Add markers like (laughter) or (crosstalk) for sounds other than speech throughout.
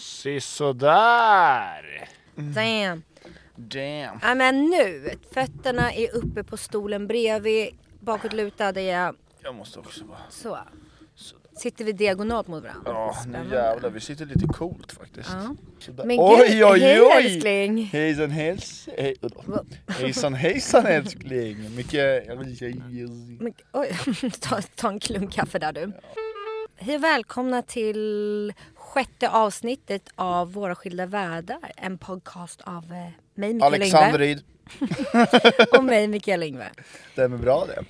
Sisådär! Damn. Damn. Ja men nu, fötterna är uppe på stolen bredvid, bakåtlutad är jag Jag måste också bara... så. Sitter vi diagonalt mot varandra. Ja, nu Spännande. jävlar. Vi sitter lite coolt faktiskt. Ja. Sådär. Men gud, hej, älskling. Hejsan hejs... hej- då. Hejsan hejsan älskling! Mycket... Men, oj, (laughs) ta, ta en klunk kaffe där du. Hej och välkomna till sjätte avsnittet av Våra skilda världar. En podcast av eh, mig Mikael Alexander Yngve Ryd. och mig Mikael Yngve. Det är bra det.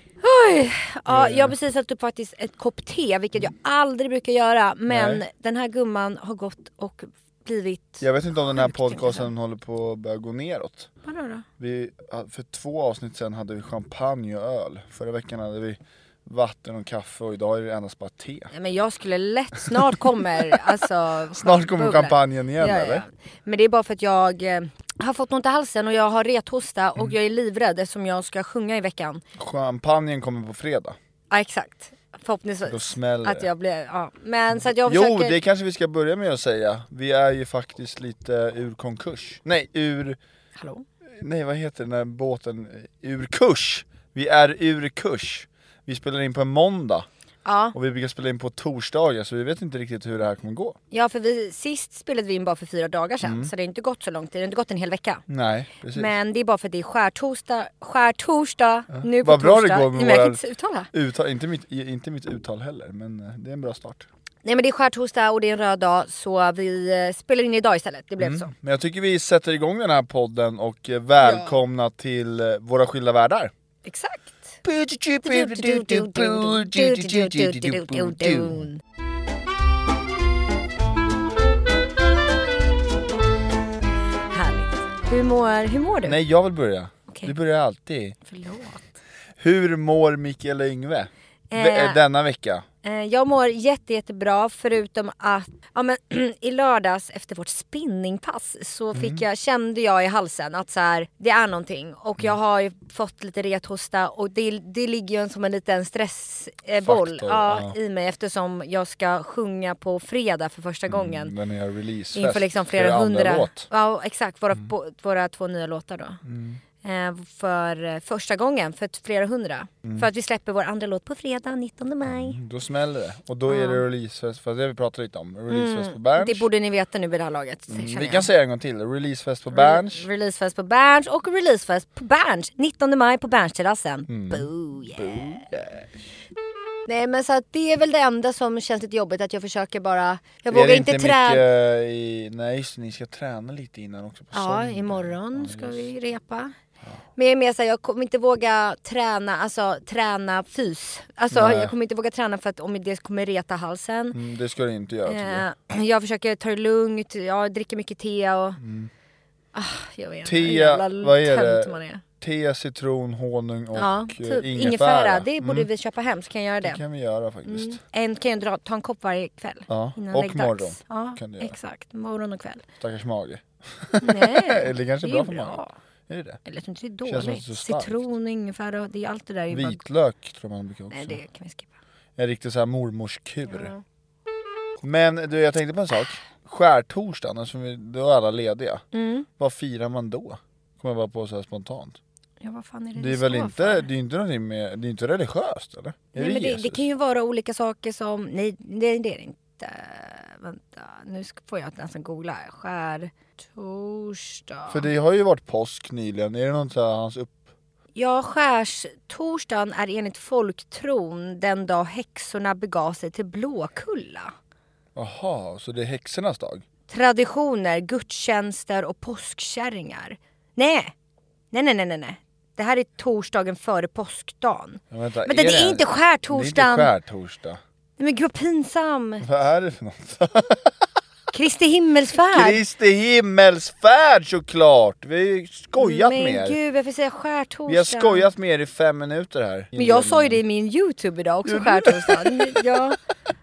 Ja, Mm. jag har precis hällt upp faktiskt ett kopp te, vilket jag aldrig brukar göra. Men Nej. den här gumman har gått och blivit... Jag vet inte om den här Sjukt intressant. podcasten håller på att börja gå neråt. Vadå då? Vi, för två avsnitt sen hade vi champagne och öl. Förra veckan hade vi vatten och kaffe och idag är det endast bara te. Nej, men jag skulle lätt, snart (laughs) kommer alltså... Snart kommer bubblan. champagnen igen, eller? Men det är bara för att jag eh, har fått ont i halsen och jag har rethosta och Mm. jag är livrädd eftersom jag ska sjunga i veckan. Champagnen kommer på fredag. Ja exakt. Förhoppningsvis. Då smäller Att det. jag blir, ja. Men så att jag Jo, försöker... det kanske vi ska börja med att säga. Vi är ju faktiskt lite ur konkurs. Nej, ur... Hallå? Nej, vad heter den där båten? Ur kurs! Vi är ur kurs. Vi spelar in på en måndag Ja. och vi brukar spela in på torsdagar så vi vet inte riktigt hur det här kommer gå. ja, för vi, sist spelade vi in bara för fyra dagar sedan. Så det har inte gått så lång tid. Det har inte gått en hel vecka. Nej, Mm. precis. Men det är bara för att det är skärtorsdag, skärtorsdag nu på Vad bra det torsdag. går med Nej, men jag våra- kan inte uttala. Uttal, inte, mitt, inte mitt uttal heller, men eh, det är en bra start. Nej men det är skärtorsdag och det är en röd dag så vi eh, spelar in idag istället. Det blev så. Men jag tycker vi sätter igång den här podden och eh, välkomna till eh, Våra skilda världar. Exakt. Härligt. Hur mår, hur mår du? Nej, jag vill börja. Okej. Du börjar alltid. Förlåt. Hur mår Mikael Yngve? Eh. Ve- Denna vecka. Eh, Jag mår jätte, jättebra förutom att ja, men, (clears throat) i lördags efter vårt spinningpass så Mm. fick jag, kände jag i halsen att så här, det är någonting och Mm. jag har ju fått lite rethosta och det, det ligger ju en- som en liten stressboll Faktor, ja, ja. i mig eftersom jag ska sjunga på fredag för första gången. Den är releasefest. Inför liksom för flera Mm. andra hundra. låt. Mm. Ja exakt, våra, bo- våra två nya låtar då. Eh, för eh, första gången, för t- flera hundra. Mm. För att vi släpper vår andra låt på fredag 19 maj. Då smäller det. Och då är det releasefest, för det vi pratar lite om. Releasefest på Berns. Mm. Mm, Det borde ni veta nu vid det här laget. känner vi kan jag. säga det en gång till. Releasefest på Mm. Berns. Releasefest på Berns och releasefest på Berns. 19 maj på Bernsterrassen. Mm. Boo, yeah. Nej men så att det är väl det enda som känns lite jobbigt att jag försöker bara, jag Är vågar det inte inte träna. mycket eh, i... Nej just det, ni ska träna lite innan också på Ja, söndag. imorgon ska vi repa. Men jag är mer såhär, jag kommer inte våga träna, alltså träna fys. Alltså Nej. jag kommer inte våga träna för att om det kommer reta halsen. Mm, det ska du inte göra tycker jag. Eh, jag försöker ta det lugnt, jag dricker mycket te och... Ah, jag vet inte, Mm. Te, jävla vad är det? tönt Man är. Te, citron, honung och Ja, eh, typ ingefära. Mm, ingefära. Det borde vi köpa hem så kan jag göra Det det. kan vi göra faktiskt. En kan jag dra, ta en kopp varje kväll. Ja, Innan och läggdags. morgon Ja, kan du göra. exakt. Morgon (laughs) och kväll. Stackars mage. Nej, Eller kanske det bra är för magen. Är det det? Eller jag tror inte det Känns är som att det är dåligt. så starkt. Citron, ingefära, det är allt det där. är ju bara- Vitlök tror jag man brukar också. Nej, det kan vi skippa. En riktig så här mormorskur. Men du, jag tänkte på en sak. Skärtorsdagen, alltså, vi- då är alla lediga. Vad firar man då? Kommer jag bara på så här spontant. Mm. Ja, vad fan är det Det är står väl inte, för? det är inte någonting med, det är inte religiöst eller? Är Nej, men det, Jesus? det kan ju vara olika saker som... Nej, det, det är det inte. Vänta, nu ska, får jag nästan googla. här. Skärtorsdag. För det har ju varit påsk nyligen, är det någon så här, hans upp... Ja, skärstorsdagen är enligt folktron den dag häxorna begav sig till Blåkulla. Jaha, så det är häxornas dag? Traditioner, gudstjänster och påskkärringar. Nej! Nej, nej, nej, nej, nej. Det här är torsdagen före påskdagen. Ja, vänta, Men det är inte Det är inte skärtorsdagen! skärtorsdag. Nej men gud vad pinsam. Vad är det för något? Kristi himmelsfärd. Kristi himmelsfärd såklart! Vi har ju skojat med Men er. gud varför säger jag skärtorsdag? Vi har skojat med er i fem minuter här. Men jag sa ju det i min youtube idag också, Mm. (laughs) skärtorsdagen. ja.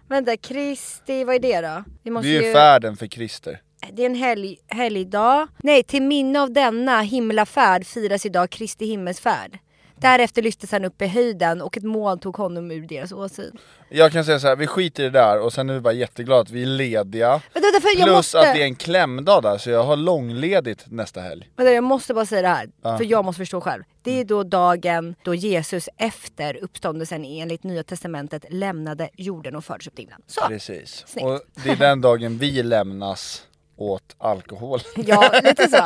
Vänta, Kristi, vad är det då? Vi Det är ju färden för Christer. Det är en helg, helgdag. Nej, till minne av denna himlafärd firas idag Kristi himmelsfärd. Därefter lyftes han upp i höjden och ett moln tog honom ur deras åsyn. Jag kan säga så här, vi skiter i det där och sen är vi bara jätteglada att vi är lediga. Vänta, vänta, för jag Plus måste... att det är en klämdag där så jag har långledigt nästa helg. Vänta, jag måste bara säga det här, för jag måste förstå själv. Det Mm. är då dagen då Jesus efter uppståndelsen enligt Nya Testamentet lämnade jorden och fördes upp till himlen. Så! Precis. Snyggt. Och det är den dagen vi lämnas åt alkohol. (laughs) Ja, lite så.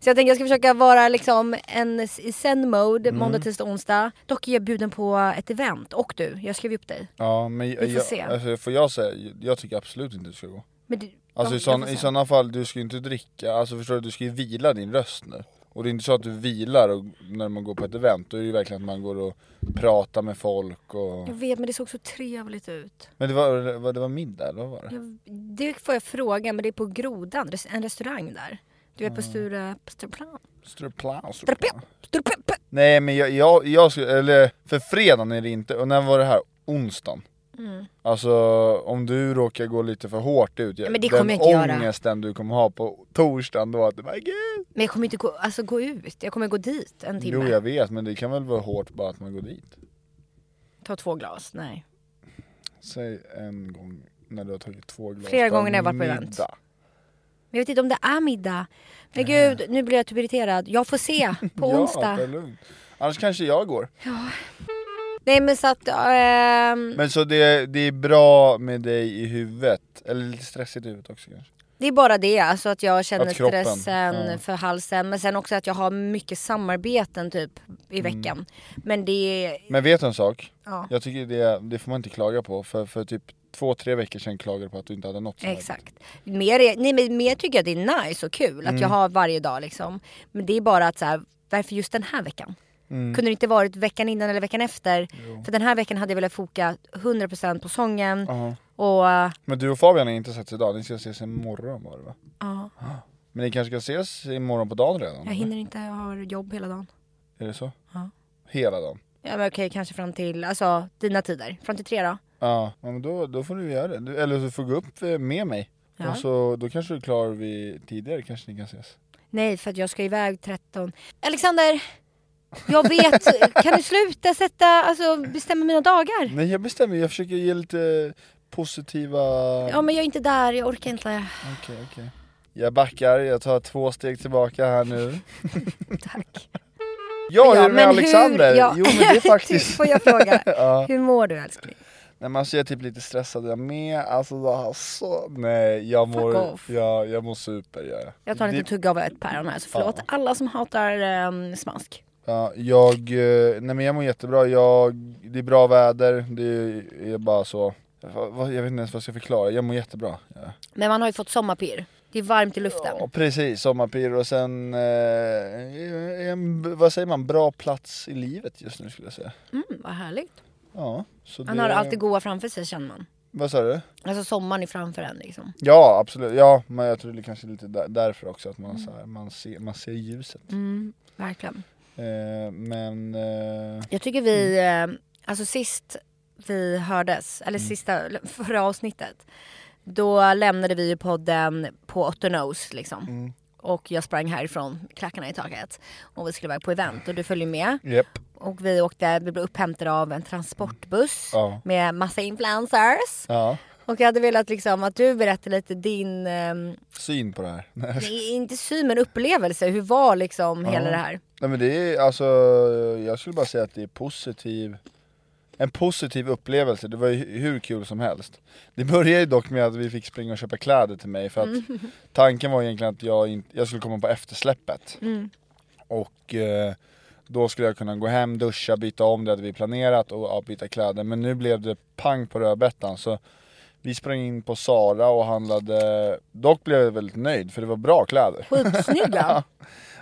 Så jag tänker jag ska försöka vara liksom en s- i zen-mode Mm. måndag, tisdag, onsdag. Dock är jag bjuden på ett event. Och du, jag skrev ju upp dig. Ja men får jag, se. alltså, får jag säga, jag tycker absolut inte du ska gå. Men du, Alltså ja, i, jag sån, får i se. sådana fall, du ska ju inte dricka, alltså förstår du, du ska ju vila din röst nu. Och det är inte så att du vilar och, när man går på ett event, då är det ju verkligen att man går och pratar med folk och... Jag vet men det såg så trevligt ut. Men det var, det var- det var middag eller vad var det? Jag, det får jag fråga men det är på Grodan, res- en restaurang där. Du är Mm. på Sture... på Stureplan? Struplan, struplan. Stureplan? Stureplan? Nej men jag, jag, jag skulle, eller för fredagen är det inte, och när var det här? Onsdagen? Mm. Alltså om du råkar gå lite för hårt ut, men det den kommer jag inte göra. ångesten du kommer ha på torsdagen då, att du bara gud. Men jag kommer inte gå, alltså, gå ut, jag kommer gå dit en timme. Jo jag vet, men det kan väl vara hårt bara att man går dit? Ta två glas, nej. Säg en gång när du har tagit två glas Flera på en gånger när jag varit på event. middag. Men jag vet inte om det är middag. Men gud, nu blir jag typ irriterad. Jag (laughs) får se på ja, onsdag. ta det lugnt. Annars kanske jag går. Nej men så att, ehm, Men så det, det är bra med dig i huvudet, eller lite stressigt i huvudet också kanske. det är bara det. Alltså att jag känner Att kroppen, stressen ja. för halsen. Men sen också att jag har mycket samarbeten typ i Mm. veckan. Men det, Men vet du en sak? ja. Jag tycker det, det får man inte klaga på, för, för typ två, tre veckor sedan klagade du på att du inte hade något samarbete. Exakt. Mer, är- nej, men mer tycker jag att det är nice och kul att Mm. jag har varje dag liksom. Men det är bara att så här, varför just den här veckan? Mm. Kunde det inte varit veckan innan eller veckan efter? För den här veckan hade jag velat foka 100% på sången Ja. och Men du och Fabian har inte sett idag, ni ska ses imorgon var det va? ja, Men ni kanske ska ses imorgon på dagen redan? jag hinner inte, jag har jobb hela dagen. eller? Är det så? Ja. Hela dagen? Ja men okej kanske fram till, alltså dina tider, fram till tre då. Ja, ja, men då, då får du göra det. Du, eller så får du gå upp eh, med mig. Ja. Och så, då kanske du klarar vi tidigare, kanske ni kan ses. Nej för att jag ska iväg 13. Alexander! Jag vet, (laughs) kan du sluta sätta, alltså bestämma mina dagar? Nej jag bestämmer, jag försöker ge lite positiva... Ja men jag är inte där, jag orkar inte. Okej, okej. Jag backar, jag tar två steg tillbaka här nu. (laughs) Tack. Ja, hur är det med Alexander? ja. Typ. Jo men (laughs) det är faktiskt... Får jag fråga? Ja. Hur mår du älskling? Nej men alltså jag är typ lite stressad jag med, alltså, alltså nej jag mår, off. jag, jag mår super gör jag. Jag tar en Det- liten tugga av ett päron här, så förlåt Ja. alla som hatar ehm, smask. Ja, jag, eh, nej men jag mår jättebra, jag, det är bra väder, det är bara så Va- va- Jag vet inte ens vad jag ska förklara, jag mår jättebra ja. Men man har ju fått sommarpirr. Det är varmt i luften. ja precis, sommarpirr och sen, eh, en, vad säger man, bra plats i livet just nu skulle jag säga Mm, vad härligt. Ja, så Man det, har allt det goa framför sig känner man. Vad sa du? Alltså sommaren är framför en liksom. Ja absolut, ja men jag tror det kanske är lite där, därför också att man, så här, man, ser, man ser ljuset Mm, verkligen. Eh, men... Eh, Jag tycker vi, eh, alltså sist vi hördes, Mm. eller sista, eller förra avsnittet. Då lämnade vi ju podden på Otto Nose liksom. Mm. Och jag sprang härifrån, klackarna i taket. Och vi skulle iväg på event och du följde med. Japp. Och vi åkte, vi blev upphämtade av en transportbuss Ja. med massa influencers. Ja. Och jag hade velat liksom att du berättar lite din, ehm, Syn på det här. Nej inte syn men upplevelse, hur var liksom hela det här? men det är alltså, jag skulle bara säga att det är positiv en positiv upplevelse, det var ju hur kul som helst. Det började ju dock med att vi fick springa och köpa kläder till mig för att tanken var egentligen att jag, inte, jag skulle komma på eftersläppet. Och eh, då skulle jag kunna gå hem, duscha, byta om, det hade vi planerat och ja, byta kläder. Men nu blev det pang på rödbetan så vi sprang in på Sara och handlade, dock blev jag väldigt nöjd för det var bra kläder. (laughs) Skitsnygga!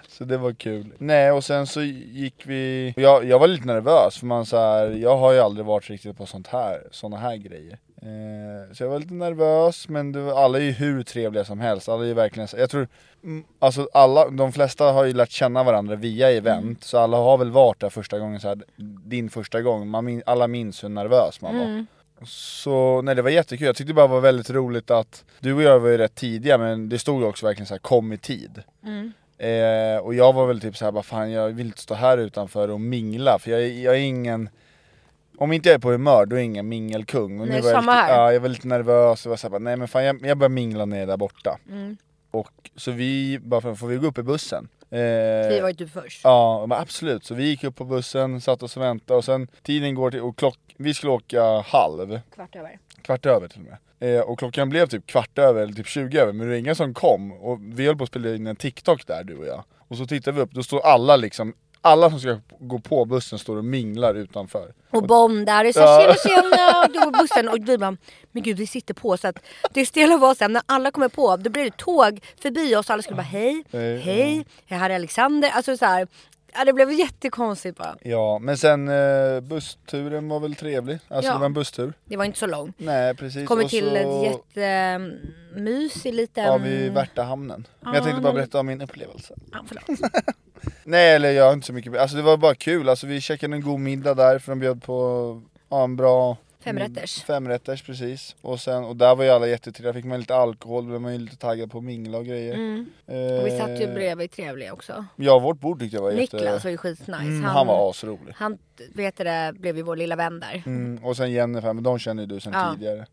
Så det var kul. Nej och sen så gick vi, jag, jag var lite nervös för man så här, jag har ju aldrig varit riktigt på sånt här, såna här grejer. Eh, så jag var lite nervös men det var, alla är ju hur trevliga som helst, alla är ju verkligen, så- jag tror, mm, alltså alla, de flesta har ju lärt känna varandra Mm. via event, så alla har väl varit där första gången så här, din första gång, man min, alla minns hur nervös man var. Mm. Så nej det var jättekul, jag tyckte det bara var väldigt roligt att Du och jag var ju rätt tidiga men det stod ju också verkligen så här kom i tid Mm. eh, Och jag var väl typ så här bara fan jag vill inte stå här utanför och mingla för jag, är- jag är ingen Om inte jag är på humör då är jag ingen mingelkung och Nej, var jag, samma lite, här. ja, jag var lite nervös och var så här, bara, nej men fan jag, jag börjar mingla ner där borta Och så vi bara fan, får vi gå upp i bussen? Eh, Vi var ju typ först. Ja men absolut, så vi gick upp på bussen, satt oss och väntade och sen tiden går till och klock, vi skulle åka halv Kvart över. Kvart över till och med. Eh, och klockan blev typ kvart över, eller typ 20 över, men det var ingen som kom. Och vi höll på att spela in en TikTok där du och jag. Och så tittar vi upp, då står alla liksom, alla som ska gå på bussen står och minglar utanför. Och Bom där och så Ja. tjena tjena och då bussen och vi bara men gud vi sitter på så att det stela var sen när alla kommer på då blir det tåg förbi oss och alla skulle bara hej, Hej, hej, det här är Alexander. Alltså så här, ja, det blev jättekonstigt bara. Ja, men sen eh, bussturen var väl trevlig. Alltså Ja. det var en busstur. Det var inte så långt. Nej precis. Kommer Och till så ett jättemysig liten... var vi i Värtahamnen. Men jag tänkte bara berätta om min upplevelse. Ja, förlåt. Nej eller jag har inte så mycket, alltså det var bara kul. Alltså vi käkade en god middag där för de bjöd på, ja, en bra Mm. Femrätters. Femrätters precis, och, sen, och där var ju alla jättetrevliga, fick man lite alkohol blev man ju lite taggad på att mingla och grejer eh, Mm. Och vi satt ju bredvid trevliga också. Ja vårt bord tyckte jag var jätte... Niklas var ju skitnice. mm, han, var asrolig han vet du det, blev ju vår lilla vän där. mm, Och sen Jennifer, men de känner ju du sen Ja. tidigare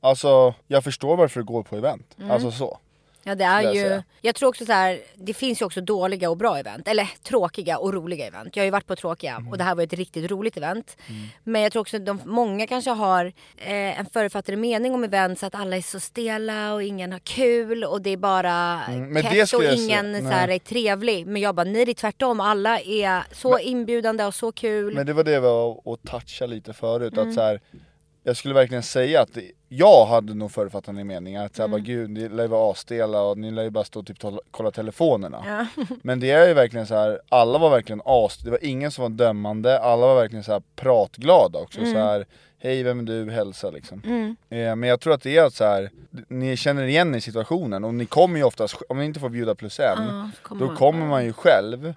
Alltså jag förstår varför du går på event, Mm. alltså så Ja det är jag ju, säga. jag tror också så här, det finns ju också dåliga och bra event. Eller tråkiga och roliga event. Jag har ju varit på tråkiga Mm. och det här var ju ett riktigt roligt event. Men jag tror också att de, många kanske har eh, en förutfattade mening om event så att alla är så stela och ingen har kul och det är bara Mm, men kett det skulle och jag säga- ingen så här, är trevlig. Men jag bara, nej det är tvärtom. Alla är så inbjudande och så kul. Mm. Men det var det jag var och toucha lite förut, att så här, Jag skulle verkligen säga att det, jag hade nog förutfattande meningar, att såhär Mm. bara gud ni lär ju vara asstela och ni lär ju bara stå och typ tolla- kolla telefonerna (laughs) Men det är ju verkligen så här, alla var verkligen as, det var ingen som var dömande, alla var verkligen så här pratglada också Mm. så här. Hej vem är du, hälsa liksom. Eh, men jag tror att det är att så här, ni känner igen er i situationen och ni kommer ju oftast, om ni inte får bjuda plus en, Ja, så kommer då man kommer själv. man ju själv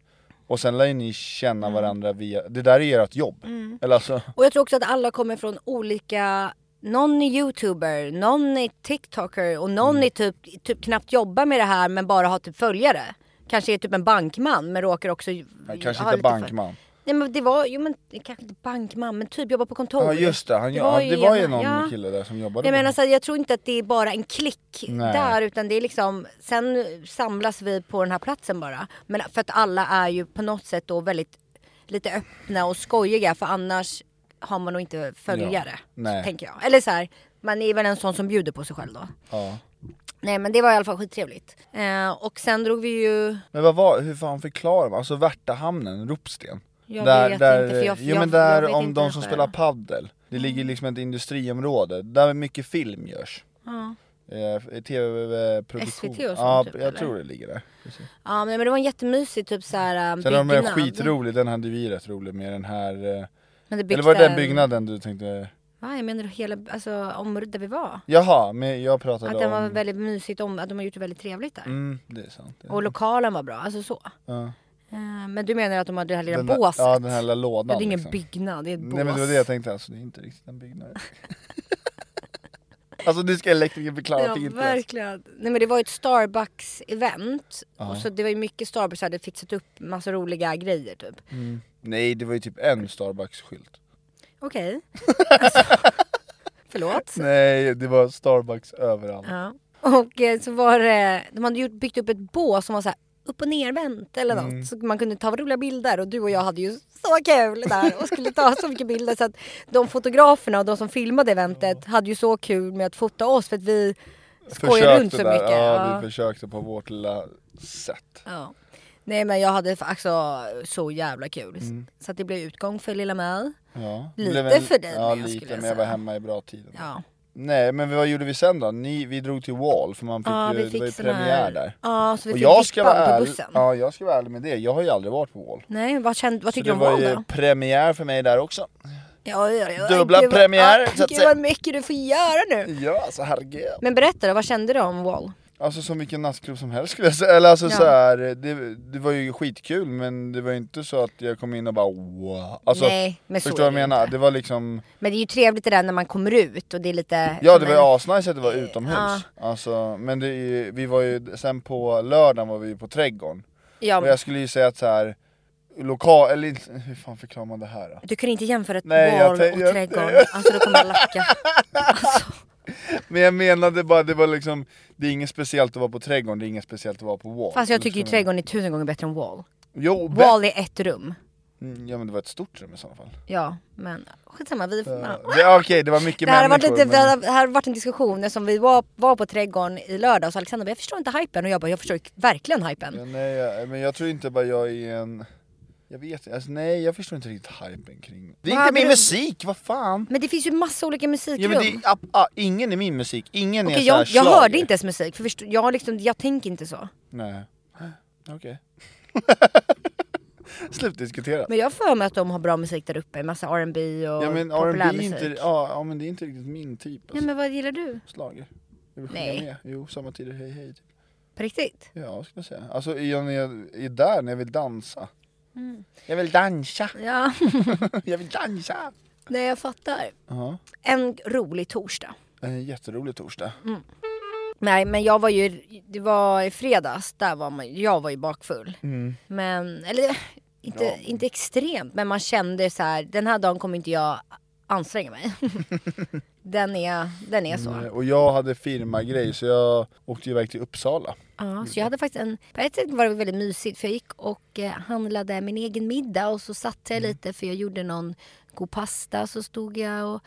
och sen lär ju ni Mm. känna varandra via, det där är ert jobb. Eller alltså, Och jag tror också att alla kommer från olika någon är youtuber, någon är tiktoker och någon Mm. är typ, typ knappt jobbar med det här men bara har typ följare. Kanske är typ en bankman men råkar också... Nej, kanske ha inte lite föl- bankman. Nej men det var, jo men kanske inte bankman men typ jobbar på kontor. Ja just det, han, det, var, var ja, det var ju ena- någon ja. kille där som jobbade Nej på men det. alltså jag tror inte att det är bara en klick Mm. Nej. där utan det är liksom, sen samlas vi på den här platsen bara. Men för att alla är ju på något sätt då väldigt lite öppna och skojiga för annars har man nog inte följare. Nej. Tänker jag. Eller så här, man är väl en sån som bjuder på sig själv då. ja. Nej men det var i alla fall skittrevligt. Eh, och sen drog vi ju, Men vad var, hur fan förklarar man? Alltså Värtahamnen, Ropsten? Jag vet inte, för jag- jo, jag- men där jag vet om inte de som detta. spelar paddel Det ligger Mm. liksom ett industriområde, där mycket film görs ja eh, TV-produktion SVT och sånt Ja, typ, jag eller? Mm, tror det ligger där Precis. ja, men men det var en jättemysig typ såhär Sen har de en skitrolig, den hade vi rätt rolig med den här eh, Men det Eller var det den en- byggnaden du tänkte? Va, jag menar hela, alltså området där vi var. Jaha, men jag pratade Att den var om väldigt mysigt, om, att de har gjort det väldigt trevligt där. mm, det är sant ja. Och lokalen var bra, alltså så. ja. Eh, Men du menar att de hade det här lilla Den där- båset? Ja den här lilla lådan det är ingen liksom. byggnad, det är ett bås. Nej men det var det jag tänkte, alltså det är inte riktigt en byggnad (laughs) Alltså nu ska elektrikern förklara, jag fick Ja, inte ens- verkligen. Nej men det var ju ett Starbucks-event. Ja. Och så det var ju mycket Starbucks hade fixat upp massa roliga grejer typ. Mm. Nej det var ju typ en (laughs) Starbucks-skylt Okej. alltså, förlåt. Nej det var Starbucks överallt Ja. Och eh, så var det, de hade gjort, byggt upp ett bås som var så här upp och nervänt eller något. Mm. Så man kunde ta roliga bilder och du och jag hade ju så kul där och skulle ta så mycket bilder så att de fotograferna och de som filmade eventet hade ju så kul med att fota oss för att vi skojade runt så där, mycket. Ja, Ja. vi försökte på vårt lilla sätt Ja. Nej men jag hade alltså så jävla kul. Mm. Så att det blev utgång för lilla mig. ja. Lite Blev en- för dig, Ja men jag lite, skulle men jag var säga. hemma i bra tid Ja. Nej men vad gjorde vi sen då? Ni, vi drog till Wall för man fick Ja, ju, vi det var ju fick sån här... premiär där. Ja, så vi Och fick jag ska, vara vippan på ärlig, bussen. ja, jag ska vara ärlig med det, jag har ju aldrig varit på Wall. Nej, vad, kände, vad Så tyckte det du om val var ju då? premiär för mig där också. Ja, ja, ja. dubbla Gud vad- premiärer, ah, så att Gud säga. vad mycket du får göra nu. Ja alltså herregud. Men berätta då, vad kände du om Wall? Alltså som vilken nattklubb som helst skulle jag säga, eller alltså Ja. så här, det, det var ju skitkul men det var ju inte så att jag kom in och bara wow. Alltså, Nej, men så förstår är du vad jag det ju menar? inte. Det var liksom, Men det är ju trevligt det där när man kommer ut och det är lite... ja det som var ju en- asnice att det var utomhus. ja. Alltså, men det, är ju- vi var ju, sen på lördagen var vi ju på trädgården. ja, Och jag skulle ju säga att så här lokal, eller inte- hur fan förklarar man det här då? Du kunde inte jämföra ett Nej, jag Wall tänk- och jag- trädgården. Alltså då kommer jag (laughs) lacka. Men jag menade bara, det var liksom, det är inget speciellt att vara på trädgården, det är inget speciellt att vara på wall. Fast jag tycker ju Liksom- trädgården är tusen gånger bättre än Wall. Jo, bet- Wall är ett rum. Mm, Ja men det var ett stort rum i så fall. Ja, men skitsamma. Vi... Ja. Ja. Det- Okej, det var mycket Det här, har varit människor. lite, men- det här- det här har varit en diskussion som vi var, var på trädgården i lördags och Alexander bara, jag förstår inte hypen och jag bara jag förstår verkligen hypen. Ja, nej, jag, men jag tror inte bara jag är en... Jag vet inte, alltså, nej jag förstår inte riktigt hypen kring... Det är Vad inte min hade du- musik, vad fan! Men det finns ju massa olika Ja, musikrum. men det är, ah, ah, ingen är min musik, ingen Okej, är såhär jag, jag schlager. hörde inte ens musik för förstå, jag, liksom, jag tänker inte så. Nej, okej. (laughs) Slutdiskutera. Men jag har för mig att de har bra musik där uppe, massa R&B och Ja men R&B är populärmusik. inte, ja, ja, men det är inte riktigt min typ Nej alltså. men vad gillar du? Schlager. Jag vill Nej. sjunga med, jo samma tider, hej hej. typ. På riktigt? Ja skulle jag säga. Alltså jag när jag är där när jag vill dansa. Mm. Jag vill dansa, (laughs) Ja, (laughs) jag vill dansa! nej jag fattar. Ja, En rolig torsdag. en jätterolig torsdag. Mm. Nej men jag var ju, det var i fredags, där var man, jag var ju bakfull. Men, eller inte, Mm. Ja. inte extremt, men man kände så här, den här dagen kommer inte jag anstränga mig. (laughs) den, är, den är så. Nej, Eh, Och jag hade firmagrej så jag åkte iväg till Uppsala. Ja, så jag hade faktiskt en, på ett sätt var det väldigt mysigt för jag gick och eh, handlade min egen middag och så satt jag lite för jag gjorde någon god pasta så stod jag och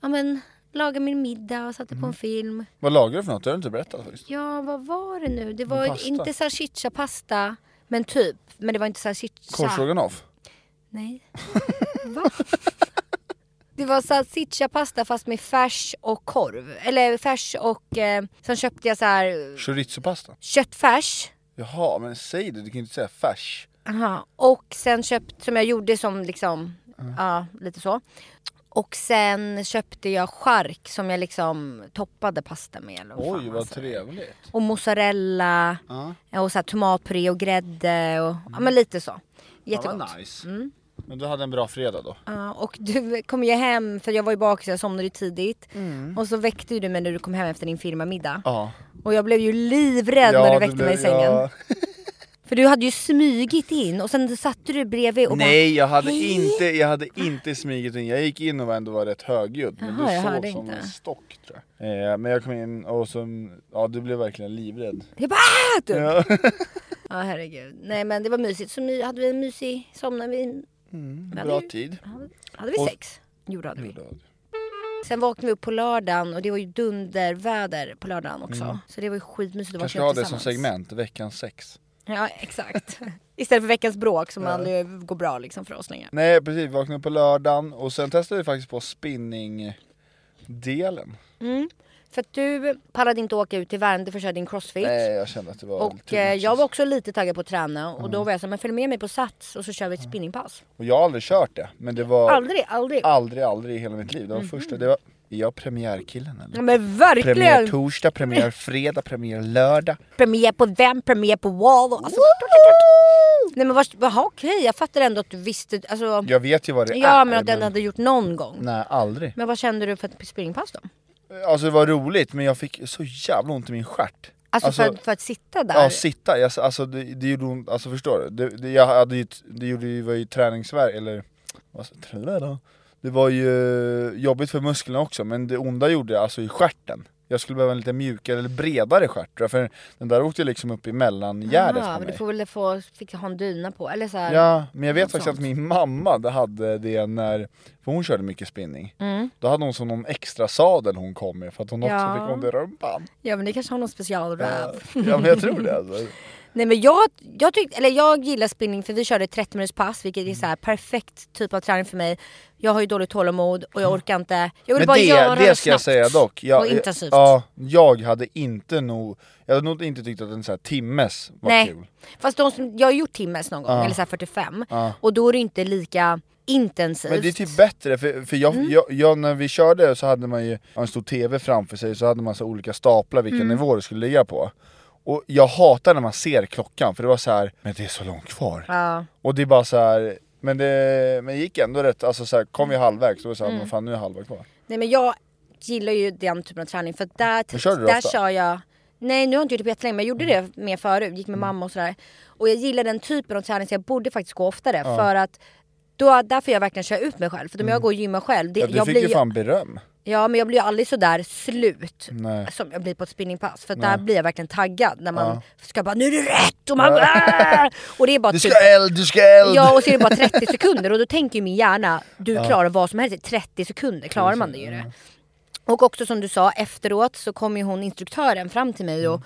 ja, men, lagade min middag och satte på en film. Vad lagade du för något? Det har du inte berättat faktiskt. Ja, vad var det nu? Det Men var pasta. inte salsiccia-pasta, men typ. Men det var inte salsiccia. Korvstroganoff? Nej. Va? Det var salsiccia-pasta fast med färs och korv. Eller färs och... Eh, sen köpte jag så här Chorizopasta? köttfärs. Jaha, men säg det, du kan ju inte säga färs. Aha. Och sen köpt, som jag gjorde som liksom, ja lite så. Och sen köpte jag chark som jag liksom toppade pasta med. Eller vad Oj fan vad alltså. trevligt. Och mozzarella. Ja, Ja, Och så här tomatpuré och grädde och ja, men lite så. det Jättegott. Mm. var nice. Men du hade en bra fredag då? Ja, och du kom ju hem, för jag var ju bakis, jag somnade ju tidigt. Och så väckte ju du mig när du kom hem efter din firmamiddag. Mm. Ja. Och jag blev ju livrädd när du väckte mig i sängen. Ja. För du hade ju smygit in och sen satte du bredvid och bara... Nej jag hade "Hej." inte, jag hade inte smugit in. Jag gick in och var ändå var rätt högljudd. Men Jaha, du jag såg hörde som inte. en stock tror jag. Eh, men jag kom in och så, ja du blev verkligen livrädd. Jag bara "Ah!" typ. Ja. Ja. (laughs) herregud. Nej men det var mysigt. Så my, hade vi en mysig, somnade vi, hade Bra ju- tid. hade vi Och- sex? Jo det hade vi. Sen vaknade vi upp på lördagen och det var ju dunderväder på lördagen också. Så det var ju skitmysigt att Mm. Kanske vakna ha upp det som tillsammans. segment, veckans sex. Ja exakt. (laughs) Istället för veckans bråk som aldrig går bra liksom för oss längre. Nej precis, vi vaknade upp på lördagen och sen testade vi faktiskt på spinningdelen. För att du pallade inte åka ut till Värmdö för att köra din crossfit. Nej jag kände att det var och too eh, much. alltså. Mm. jag var också lite taggad på att träna och då var jag så här, men följ med mig på Sats och så kör vi ett spinningpass. Och jag har aldrig kört det, men det var aldrig, Aldrig, Mm-hmm. aldrig. aldrig, i hela mitt liv. Det var första, det var, är jag premiärkillen eller? Ja, men verkligen! Premiär Premiär, torsdag, premiär fredag, premiär lördag. på vem, premiär på wall. Och, alltså, nej men vars- jaha okej, jag fattar ändå att du visste. Alltså, ja Jag vet ju vad det är. men att du ändå hade gjort någon gång. Nej aldrig. Men vad kände du för ett spinningpass då? Alltså det var roligt men jag fick så jävla ont i min stjärt. Alltså, för, att- för att sitta där? Ja, sitta. Jag, alltså, det, det gjorde ont, alltså förstår du? Det, det, jag hade ju, t- det gjorde ju, var ju träningsvärk, eller vad sa- träningsvärk? Det var ju jobbigt för musklerna också, men det onda gjorde jag alltså i stjärten. Jag skulle behöva en lite mjukare eller bredare stjärt, tror jag, för den där åkte ju liksom upp i mellangärdet Jaha, på Ah, men mig. du får väl få, fick ha en dyna på eller så här. Ja, men jag vet Något faktiskt sånt. att min mamma det hade det när, för hon körde mycket spinning, Mm. då hade hon som någon extra sadel hon kom med för att hon också Ja. fick ont i rumpan. ja men det kanske har någon specialräv. Ja men jag tror det alltså. Nej men jag, jag, tyckte, eller jag gillar spinning för vi körde 30 minuters pass vilket är så Mm. här perfekt typ av träning för mig. Jag har ju dåligt tålamod och jag orkar inte. Jag vill Mm. Men bara det, göra det ska jag snabbt säga dock. Jag, och intensivt. Ja, jag hade inte nog, jag hade nog inte tyckt att en så här timmes var Nej. kul. Fast de som, jag har gjort timmes någon gång, eller så här 45. Och då är det inte lika intensivt. Men det är typ bättre, för, för jag, Mm. jag, jag, när vi körde så hade man ju en stor TV framför sig, så hade man så olika staplar vilken Mm. nivå det skulle ligga på. Och jag hatar när man ser klockan, för det var så här, men det är så långt kvar. Ja. Och det är bara så här, men det men det gick ändå rätt, alltså så här, kom vi halvvägs, då var det så här, men fan nu är halva kvar. Nej men Mm. jag gillar ju den typen av träning för att där, Men kör du det där ofta? Mm. kör jag Nej nu har jag inte gjort det på jättelänge men jag gjorde det mer förut, gick med mamma och sådär. Och jag gillar den typen av träning så jag borde faktiskt gå oftare för att då, där får jag verkligen köra ut mig själv. För om jag går och gymmar själv, det, Mm. Ja, du jag fick blir ju fan beröm. Ja men jag blir ju aldrig sådär slut Nej. som jag blir på ett spinningpass. För att där blir jag verkligen taggad när man ska bara nu är det rätt och man och det är bara Du typ, ska eld, du ska eld! Ja och så är det bara 30 sekunder och då tänker ju min hjärna du klarar vad som helst i 30 sekunder klarar man det ju. det. Och också som du sa efteråt så kom ju hon instruktören fram till mig Mm. och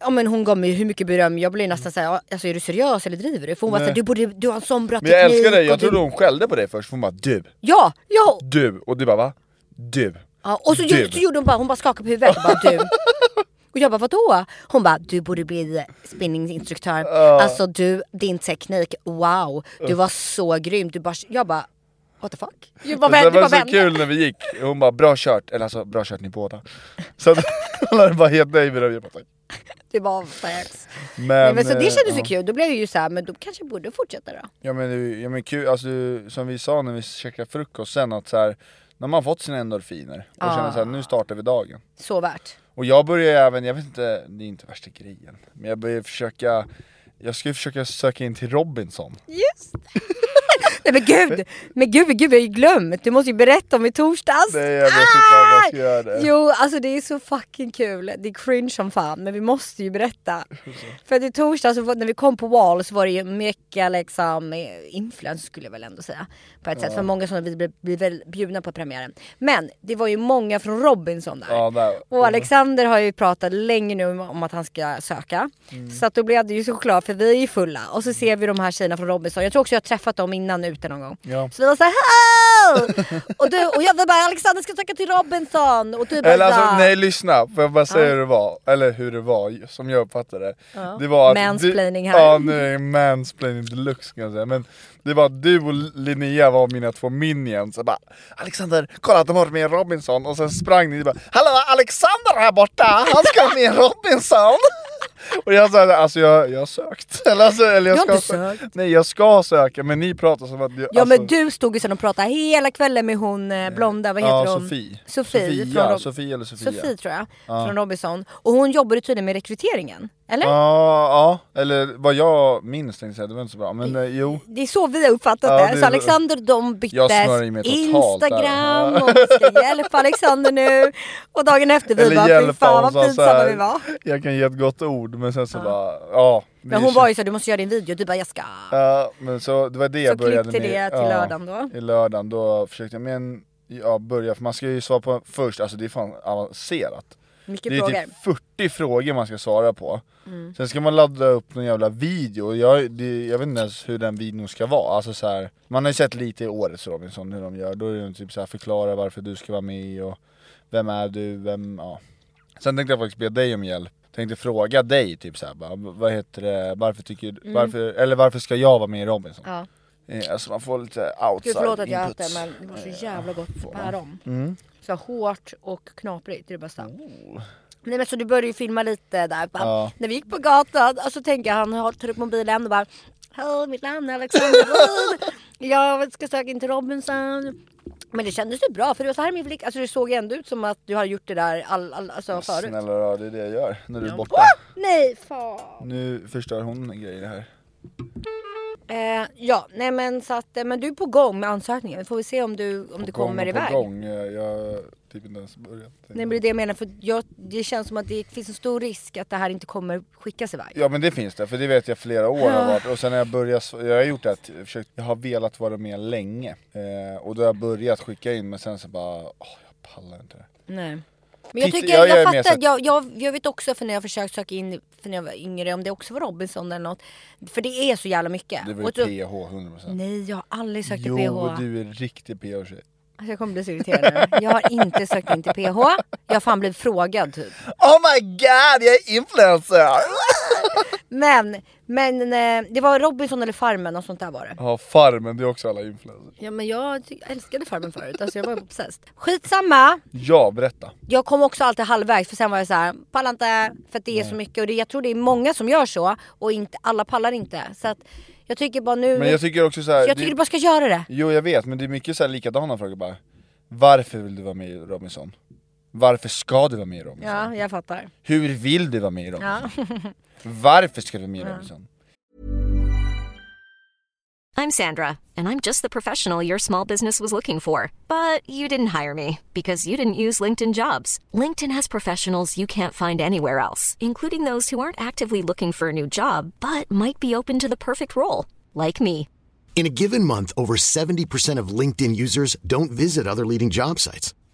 Ja men hon gav mig hur mycket beröm, jag blev nästan såhär, alltså är du seriös eller driver du? För hon var såhär, du, borde, du har en sån bra Men jag teknik älskar dig, och jag du- trodde hon skällde på dig först, för hon bara du, Ja, ja! du, och du bara va? Du. Ja, och så, Du. gjorde- så gjorde hon bara, hon bara skakade på huvudet och (laughs) bara du. Och jag bara vadå? Hon bara du borde bli spinninginstruktör. Alltså du, din teknik, wow. Du var så grym. Du bara, jag bara what the fuck? Jag bara, det vände, var bara så vände. kul när vi gick, hon bara bra kört, eller alltså bra kört ni båda. Så att (laughs) hon hade bara helt nöjd med det, jag bara, tack. Det var facts. Men, Nej, men så det eh, kändes ju ja. kul. Då blev jag ju såhär, men då kanske jag borde fortsätta då. Ja men, det är ju- ja, men kul, alltså, som vi sa när vi käkade frukost sen att så här, när man fått sina endorfiner och Ah. känner så här, nu startar vi dagen. Så värt. Och jag börjar ju även, jag vet inte, det är inte värsta grejen, men jag börjar försöka jag ska ju försöka söka in till Robinson. Just (laughs) Nej men gud! Men gud, gud, jag har ju glömt. Du måste ju berätta om i torsdags. Nej jag vet inte om jag ska göra det. Jo, alltså det är så fucking kul. Det är cringe som fan, men vi måste ju berätta. För att i torsdags så var- när vi kom på Wall så var det ju mycket liksom eh, influence skulle jag väl ändå säga. På ett sätt, för många som vi blev, blev väl bjudna på premiären. Men det var ju många från Robinson där. Ja, där. Och Alexander har ju pratat länge nu om- om att han ska söka. Mm. Så att då blev det ju såklart, för vi är ju fulla. Och så ser vi de här tjejerna från Robinson. Jag tror också jag har träffat dem innan ute någon gång. Ja. Så vi var såhär Hello! (laughs) och, du, och jag var bara Alexander ska söka till Robinson. Och du bara Eller så alltså, här, nej lyssna, får jag bara säga hur det var? Eller hur det var, som jag uppfattade det. det var att Mansplaining du, här. Ja nu är det mansplaining deluxe kan jag säga. Men det var att du och Linnea var mina två minions. Jag bara, Alexander, kolla de har med en Robinson. Och sen sprang ni och bara, hallå Alexander här borta, han ska ha med en Robinson. (laughs) Och jag sa alltså jag, jag har sökt. (laughs) Eller, alltså, eller jag Du har ska inte sö- sökt. Nej jag ska söka men ni pratar som att... Jag, Ja alltså, men du stod ju sen och pratade hela kvällen med hon eh, blonda, vad heter ja, hon? Sofie. Sofie. Sofia, från Rob- Sofie eller Sofia. Sofie tror jag. Från Robinson. Och hon jobbade tydligen med rekryteringen. Eller? Ja, ja, eller vad jag minns tänkte jag säga, det var inte så bra. Men eh, jo. Det är så vi har uppfattat Ja, det. det- Så Alexander och de Jag byttes smörjer mig totalt där. (laughs) Instagram och vi ska hjälpa Alexander nu. Och dagen efter vi bara fy fan vad hon sa så pinsamma här, vi var. Jag kan ge ett gott ord men sen så bara, ja. vi Men hon kö- var ju så du måste göra din video. Du bara jag ska. Ja, men så det var det jag Så började klippte med. det till lördagen då. I lördagen då försökte jag med en, ja börja, för man ska ju svara på först, alltså det är fan avancerat. Mycket Det är frågor. Mm. typ 40 frågor man ska svara på. Sen ska man ladda upp någon jävla video, och jag, det, jag vet inte ens hur den videon ska vara. Alltså så här, man har ju sett lite i årets Robinson hur de gör, då är det typ så här förklara varför du ska vara med och vem är du, vem, ja. Sen tänkte jag faktiskt be dig om hjälp. Tänkte fråga dig typ såhär, bara, vad heter det, varför tycker Mm. du, varför, eller varför ska jag vara med i Robinson? Ja. Eh, Alltså man får lite outside Gud förlåt att jag inputs. Mm. äter men det var så jävla gott päron. Så hårt och knaprigt, det är det bästa. Nej men så du började ju filma lite där. Bara, Oh. Ja. När vi gick på gatan och så tänker jag han har- tar upp mobilen och bara Hej mitt namn är Alexander Wood. Jag ska söka in till Robinson. Men det kändes ju bra för det var så här min flicka. Alltså det såg ju ändå ut som att du hade gjort det där all, all, alltså förut. Snälla rör, det är det jag gör när du är borta. Nej fan. Nu förstör hon grejer här. Eh, ja nej men så att eh, men du är på gång med ansökningen. Vi får vi se om du, om du Gång kommer på iväg. Gång. Jag jag har typ inte ens börjat. Nej men det är det jag menar för jag, det känns som att det finns en stor risk att det här inte kommer skickas iväg. Ja men det finns det, för det vet jag flera år har varit. Och sen när jag började, sv- jag har gjort det att jag, försökt, jag har velat vara med länge. Eh, och då har jag börjat skicka in men sen så bara, åh jag pallar inte det. Nej. Men jag, Titt- tycker, jag- jag, jag är med, så fattar, att- jag, jag, jag vet också för när jag försökt söka in för när jag var yngre om det också var Robinson eller något. För det är så jävla mycket. Det var ju Och så- Mm, PH 100% Nej jag har aldrig sökt till Jo, PH. du är en riktig PH-tjej Alltså, jag kommer bli så irriterad nu. Jag har inte sökt in till PH. Jag har fan blivit frågad typ. Oh my god, jag är influencer! Men, men eh, det var Robinson eller Farmen och sånt där var det. Ja, Farmen, det är också alla influencers Ja men jag ty- älskade Farmen förut, alltså jag var obsessed. Skitsamma, Ja, berätta jag kom också alltid halvvägs för sen var jag så här, pallar inte för att det är så mycket och det, jag tror det är många som gör så och inte, alla pallar inte. Så att jag tycker bara nu, Men jag tycker också så här, jag tycker du bara ska göra det. Jo jag vet, men det är mycket så här likadana frågor bara Varför vill du vara med i Robinson? Varför ska du vara med i Robinson? Ja, jag fattar. Hur vill du vara med i Robinson? Ja. Varför ska du vara med i Robinson? I'm Sandra, and I'm just the professional your small business was looking for. But you didn't hire me because you didn't use LinkedIn jobs. LinkedIn has professionals you can't find anywhere else, including those who aren't actively looking for a new job but might be open to the perfect role, like me. In a given month, over 70% of LinkedIn users don't visit other leading job sites.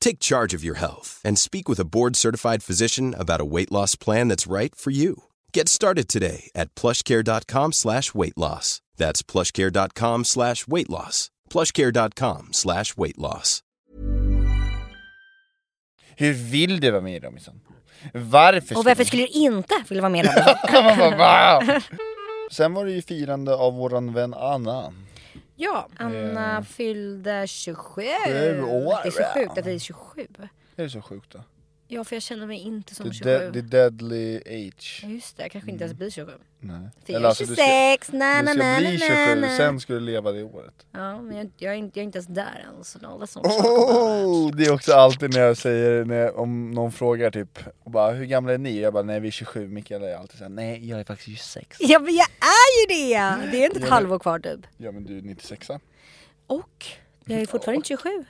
Take charge of your health and speak with a board-certified physician about a weight loss plan that's right for you. Get started today at plushcare.com slash weight loss. That's plushcare.com slash weight loss. plushcare.com slash weight loss. Hur vill du vara med i Robinson? Varför Och varför du- (laughs) skulle du inte vilja vara med i Robinson? Man bara, "Va?" Sen var det ju firande av våran vän Anna (laughs) Ja, Anna fyllde 27. Sju år, Det är så sjukt ja. att det är 27. Det är så sjukt då Ja för jag känner mig inte som The, 27. de- the deadly age Ja, Just det, jag kanske inte Mm. ens blir 27. Nej. För jag Eller Mm. är alltså, 26, du ska, na, du na, ska na, bli na, 27, na. sen ska du leva det året Ja, men jag, jag, är inte, jag är inte ens där än så något sånt. Oh, det är också alltid när jag säger, när jag, om någon frågar typ och bara, hur gamla är ni? Jag bara nej vi är 27, Mikael är alltid såhär nej jag är faktiskt 26 Ja men jag är ju det! Det är inte ett halvår kvar typ. Ja men du är 96 Och jag är fortfarande inte 27.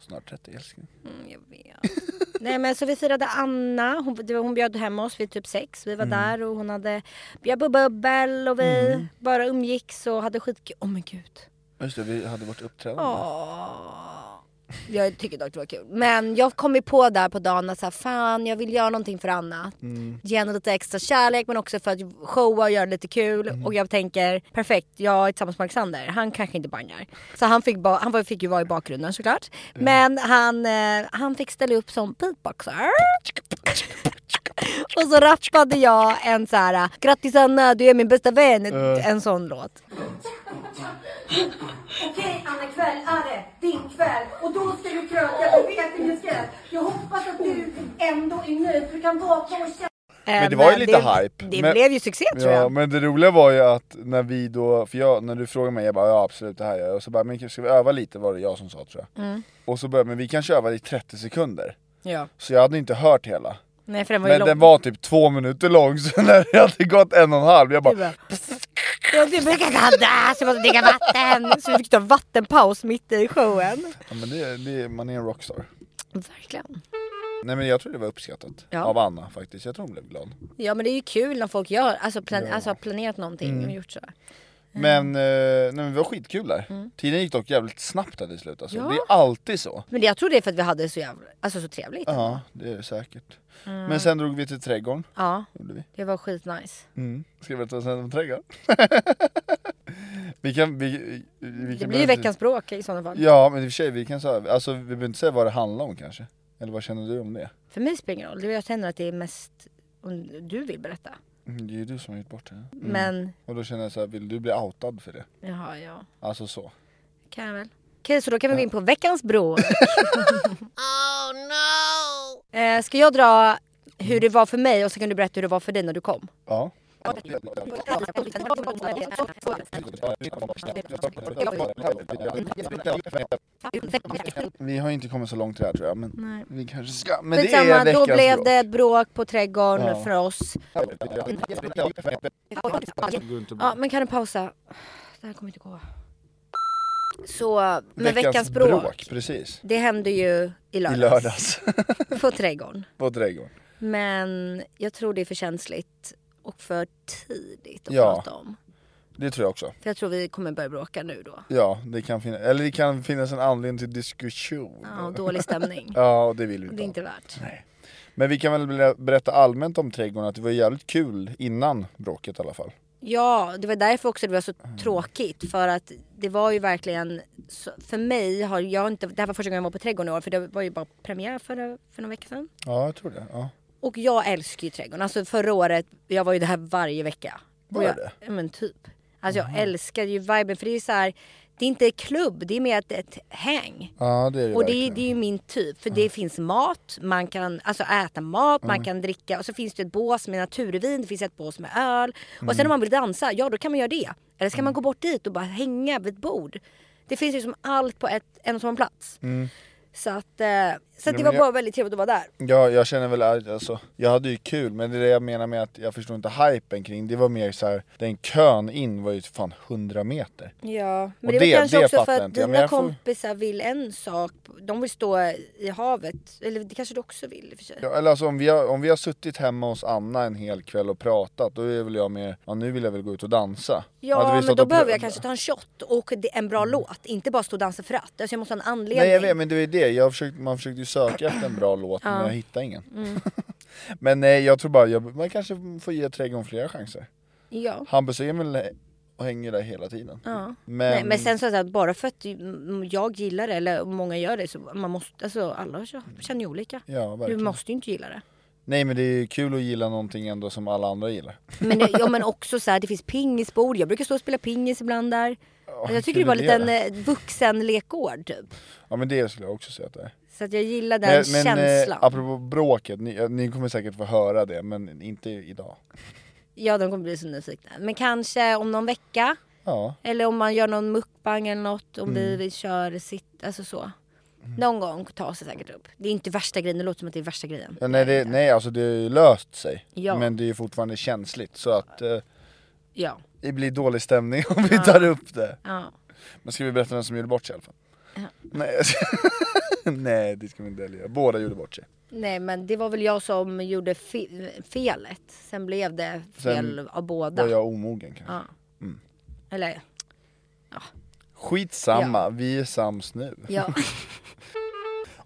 snart 30 älskling Mm, jag vet. Nej men så vi firade Anna, hon, det var- hon bjöd hem oss vid typ sex. Vi var där och hon hade, bjöd på bubbel och vi bara umgicks och hade skitkul. Åh men gud. Just det, vi hade vårt uppträdande Åh. Jag tycker dock det var kul. Men jag kom ju på där på dagen att så här, fan jag vill göra någonting för Anna. Mm. Ge henne lite extra kärlek men också för att showa och göra lite kul. Mm. Och jag tänker perfekt, jag är tillsammans med Alexander, han kanske inte bangar. Så han fick, ba- han var- fick ju vara i bakgrunden såklart. Men han, eh, han fick ställa upp som beatboxer. Och så rappade jag en så här grattis Anna du är min bästa vän. En sån låt. Okej Anna, kväll är det din kväll och då ska du kröka, jag vet hur du ska göra. Jag hoppas att du ändå är nöjd för du kan vakna och känna Men det var ju lite hype. Eh, Det Men- blev ju succé tror Ja jag. men det roliga var ju att när vi då, för jag, när du frågade mig, jag bara ja absolut det här gör jag, och så bara men ska vi öva lite var det jag som sa tror jag Mm. Och så började men vi kanske övar i 30 sekunder, Ja. så jag hade inte hört hela Nej för den var ju Men lång. den var typ två minuter lång, (laughs) så när det hade gått en och en halv, jag bara Det var- Ja, Du brukar kalla så jag måste dricka vatten. (laughs) Så vi fick ta vattenpaus mitt i showen. ja, men det, det, man är en rockstar Verkligen. Nej men jag tror det var uppskattat Ja. Mm. av Anna faktiskt, jag tror hon blev glad Ja men det är ju kul när folk gör, alltså, plan- alltså har planerat någonting Mm. och gjort så. Men, eh, nej, men det var skitkul där, tiden gick dock jävligt snabbt där i slut alltså. Mm. Ja. det är alltid så Men det, jag tror det är för att vi hade så jävla, alltså så trevligt. Ja det är det säkert Mm. Men sen drog vi till trädgården, Ja, gjorde vi det var skitnice. Mm. Ska vi berätta vad som hände på trädgården? (laughs) vi kan, vi, vi, vi Det kan blir ju veckans bråk i sådana fall. Ja men i och för sig, vi kan säga, alltså vi behöver inte säga vad det handlar om kanske Eller vad känner du om det? För mig spelar det ingen roll, Det- jag känner att det är mest om du vill berätta. Mm, Det är ju du som har gjort bort det Men, Och då känner jag så här, vill du bli outad för det? jaha ja. Alltså så Kan jag väl. Okej, så då kan vi gå in på (laughs) veckans bråk. oh no! Eh, ska jag dra hur det var för mig och så kan du berätta hur det var för dig när du kom? Ja Vi har inte kommit så långt i det här tror jag, men Nej. vi kanske ska. Men det Skitsamma, är då veckans blev bråk. det ett bråk på trädgården Ja. för oss. Det går inte bra. Ja, men kan du pausa? Det här kommer inte gå. Så, men Veckans, veckans bråk. bråk. Precis. Det hände ju i I lördags. lördags. (laughs) På trädgården. På trädgården. Men jag tror det är för känsligt och för tidigt att Ja. prata om. Det tror jag också. För jag tror vi kommer börja bråka nu då. Ja, det kan finnas, eller det kan finnas en anledning till diskussion. Ja, och dålig stämning. (laughs) Ja, och det vill vi Det är inte. inte värt. Men vi kan väl ber- berätta allmänt om trädgården att det var jävligt kul innan bråket i alla fall. Ja, det var därför också det var så Mm. tråkigt. För att det var ju verkligen, så, för mig har jag inte, det här var första gången jag var på trädgården i år. För det var ju bara premiär för, för någon vecka sedan. Ja, jag tror det. Ja. Och jag älskar ju trädgården. Alltså förra året, jag var ju där varje vecka. Var Och jag, det? Ja, Men typ. Alltså jag älskar ju viben för det är så här, det är inte klubb, det är mer ett, ett häng. Ja, det är det Och det, verkligen. är- Mm. det är ju min typ, för det finns mat, man kan alltså, äta mat, man kan dricka och så finns det ett bås med naturvin, det finns ett bås med öl. Och Mm. sen om man vill dansa, ja då kan man göra det. Eller ska man gå bort dit och bara hänga vid ett bord. Det finns ju som allt på ett, en och samma plats. Så att, eh, så att det Mm. men var jag- bara väldigt trevligt att vara där. Ja, jag känner väl att alltså, jag hade ju kul, men det är det jag menar med att jag förstår inte hypen kring. Det var mer så här, den kön in var ju fan 100 meter. Ja, men Och det, det- var kanske det också fattar för jag att inte. Ja, men dina jag får- kompisar vill en sak. De vill stå i havet. Eller det kanske du också vill i och för sig. Ja, eller alltså om vi, har, om vi har suttit hemma hos Anna en hel kväll och pratat, då är väl jag mer, ja nu vill jag väl gå ut och dansa. Hade vi Ja, men stått då och behöver pr- jag kanske ta en shot och det- en bra låt. Inte bara stå och dansa för att. Alltså jag måste ha en anledning. Nej jag vet, men det var ju det. Jag försökte, man försökte ju söka efter en bra (laughs) låt, men jag hittade ingen. Mm. (laughs) men nej, jag tror bara, jag, man kanske får ge trädgården flera chanser. Ja. Hampus och Emil hänger där hela tiden. Men, Nej, men sen så att bara för att mm, jag gillar det eller många gör det så man måste, alltså alla känner ju olika. Mm. Ja, du verkligen. måste ju inte gilla det. nej men det är ju kul att gilla någonting ändå som alla andra gillar. Men, ja, men också så här, det finns pingisbord. Jag brukar stå och spela pingis ibland där. Alltså, jag tycker det kul var en är liten det. eh, vuxenlekgård typ. Ja men det skulle jag också säga att det är. Så att jag gillar den Men, men eh, känslan. apropå bråket, ni, eh, ni kommer säkert få höra det, men inte idag. ja, de kommer bli så nyfikna. Men kanske om någon vecka. Ja, Eller om man gör någon mukbang eller något. Om vi, Mm. vi kör sitt, alltså så. Någon gång tas det säkert upp. Det är inte värsta grejen, det låter som att det är värsta grejen. ja nej, det, nej alltså det har ju löst sig. Ja. Men det är ju fortfarande känsligt så att eh, Ja. det blir dålig stämning (laughs) om vi tar upp det. ja. Men ska vi berätta vem som gjorde bort sig i alla fall? Nej, jag ska- (laughs) nej det ska vi inte heller göra. Båda gjorde bort sig. Nej men det var väl jag som gjorde fe- felet. Sen blev det fel av båda. Var jag omogen kanske? Ja. Eller Skitsamma, vi är sams nu. (laughs) ja.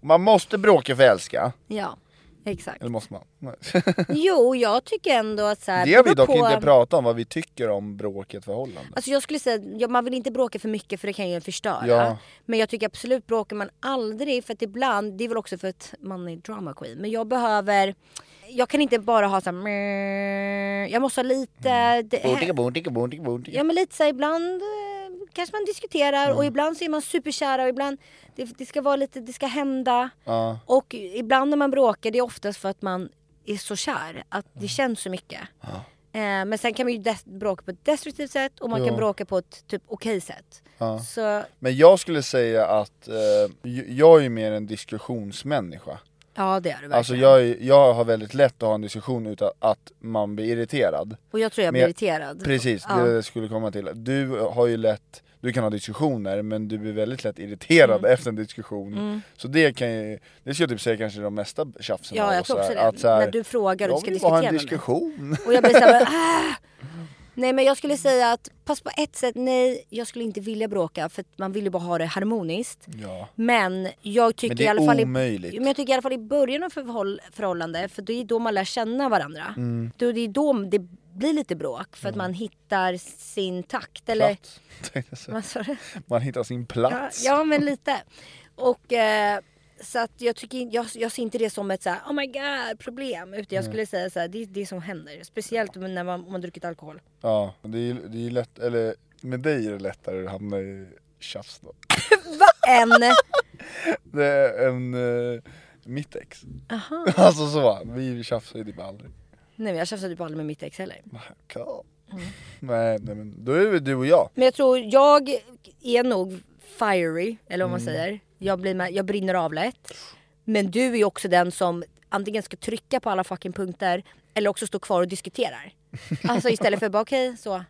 Man måste bråka för att älska. ja. Exakt. Eller måste man? Nej. (laughs) Jo, jag tycker ändå att så här, Det har vi Äh, beror dock på- inte pratat om, vad vi tycker om bråket förhållande. Alltså jag skulle säga, ja, man vill inte bråka för mycket för det kan ju förstöra. Ja. Men jag tycker absolut bråkar man aldrig för att ibland, det är väl också för att man är drama queen. Men jag behöver, jag kan inte bara ha såhär "Meh". jag måste ha lite, det, Eh, ja men lite såhär ibland eh, kanske man diskuterar Mm. och ibland så är man superkära och ibland det, det ska vara lite, det ska hända. Ja. Och ibland när man bråkar det är oftast för att man är så kär att Mm. det känns så mycket. Eh, men sen kan man ju des- bråka på ett destruktivt sätt och man kan Ja. bråka på ett typ okej sätt. Så Men jag skulle säga att eh, j- jag är ju mer en diskussionsmänniska. ja det är det verkligen. Alltså jag, är- jag har väldigt lätt att ha en diskussion utan att man blir irriterad. och jag tror jag blir Men- irriterad. Precis, det Ja. är det jag skulle komma till. Du har ju lätt, du kan ha diskussioner men du blir väldigt lätt irriterad Mm. efter en diskussion. Så det kan ju, det skulle jag typ säga kanske är de mesta tjafsen Ja av jag oss tror också är det. Att så här, när du frågar och jag ska vill bara diskutera ha en med mig. diskussion. Och jag blir såhär ah! Nej men jag skulle säga att pass på ett sätt, nej jag skulle inte vilja bråka för att man vill ju bara ha det harmoniskt. Ja. Men jag tycker Men det är i alla fall omöjligt. I, men jag tycker i alla fall i början av förhåll, förhållande, för det är då man lär känna varandra. Mm. Då, det är då det blir lite bråk för att man hittar sin takt. Eller, Plats. tänkte jag säga. vad sa du? Man hittar sin Ja, plats. ja men lite. Och eh, så att jag, tycker, in- jag, jag ser inte det som ett så här, oh my god problem. Utan jag skulle säga så här, det är det som händer. Speciellt när man, om man druckit alkohol. Ja, det är ju det är ju lätt, eller med dig är det lättare att hamna i tjafs då. En, Det (laughs) är en, eh, mitt ex. Aha. Alltså så, vi tjafsar ju typ aldrig. Nej men jag tjafsar typ aldrig med mitt ex heller. Cool. Mm. Nej, nej men då är det du och jag. Men jag tror, jag är nog fiery, eller vad man Mm. säger. Jag, blir med, jag brinner av lätt. Men du är ju också den som antingen ska trycka på alla fucking punkter eller också stå kvar (laughs) och diskuterar. Alltså istället för bara okej, så.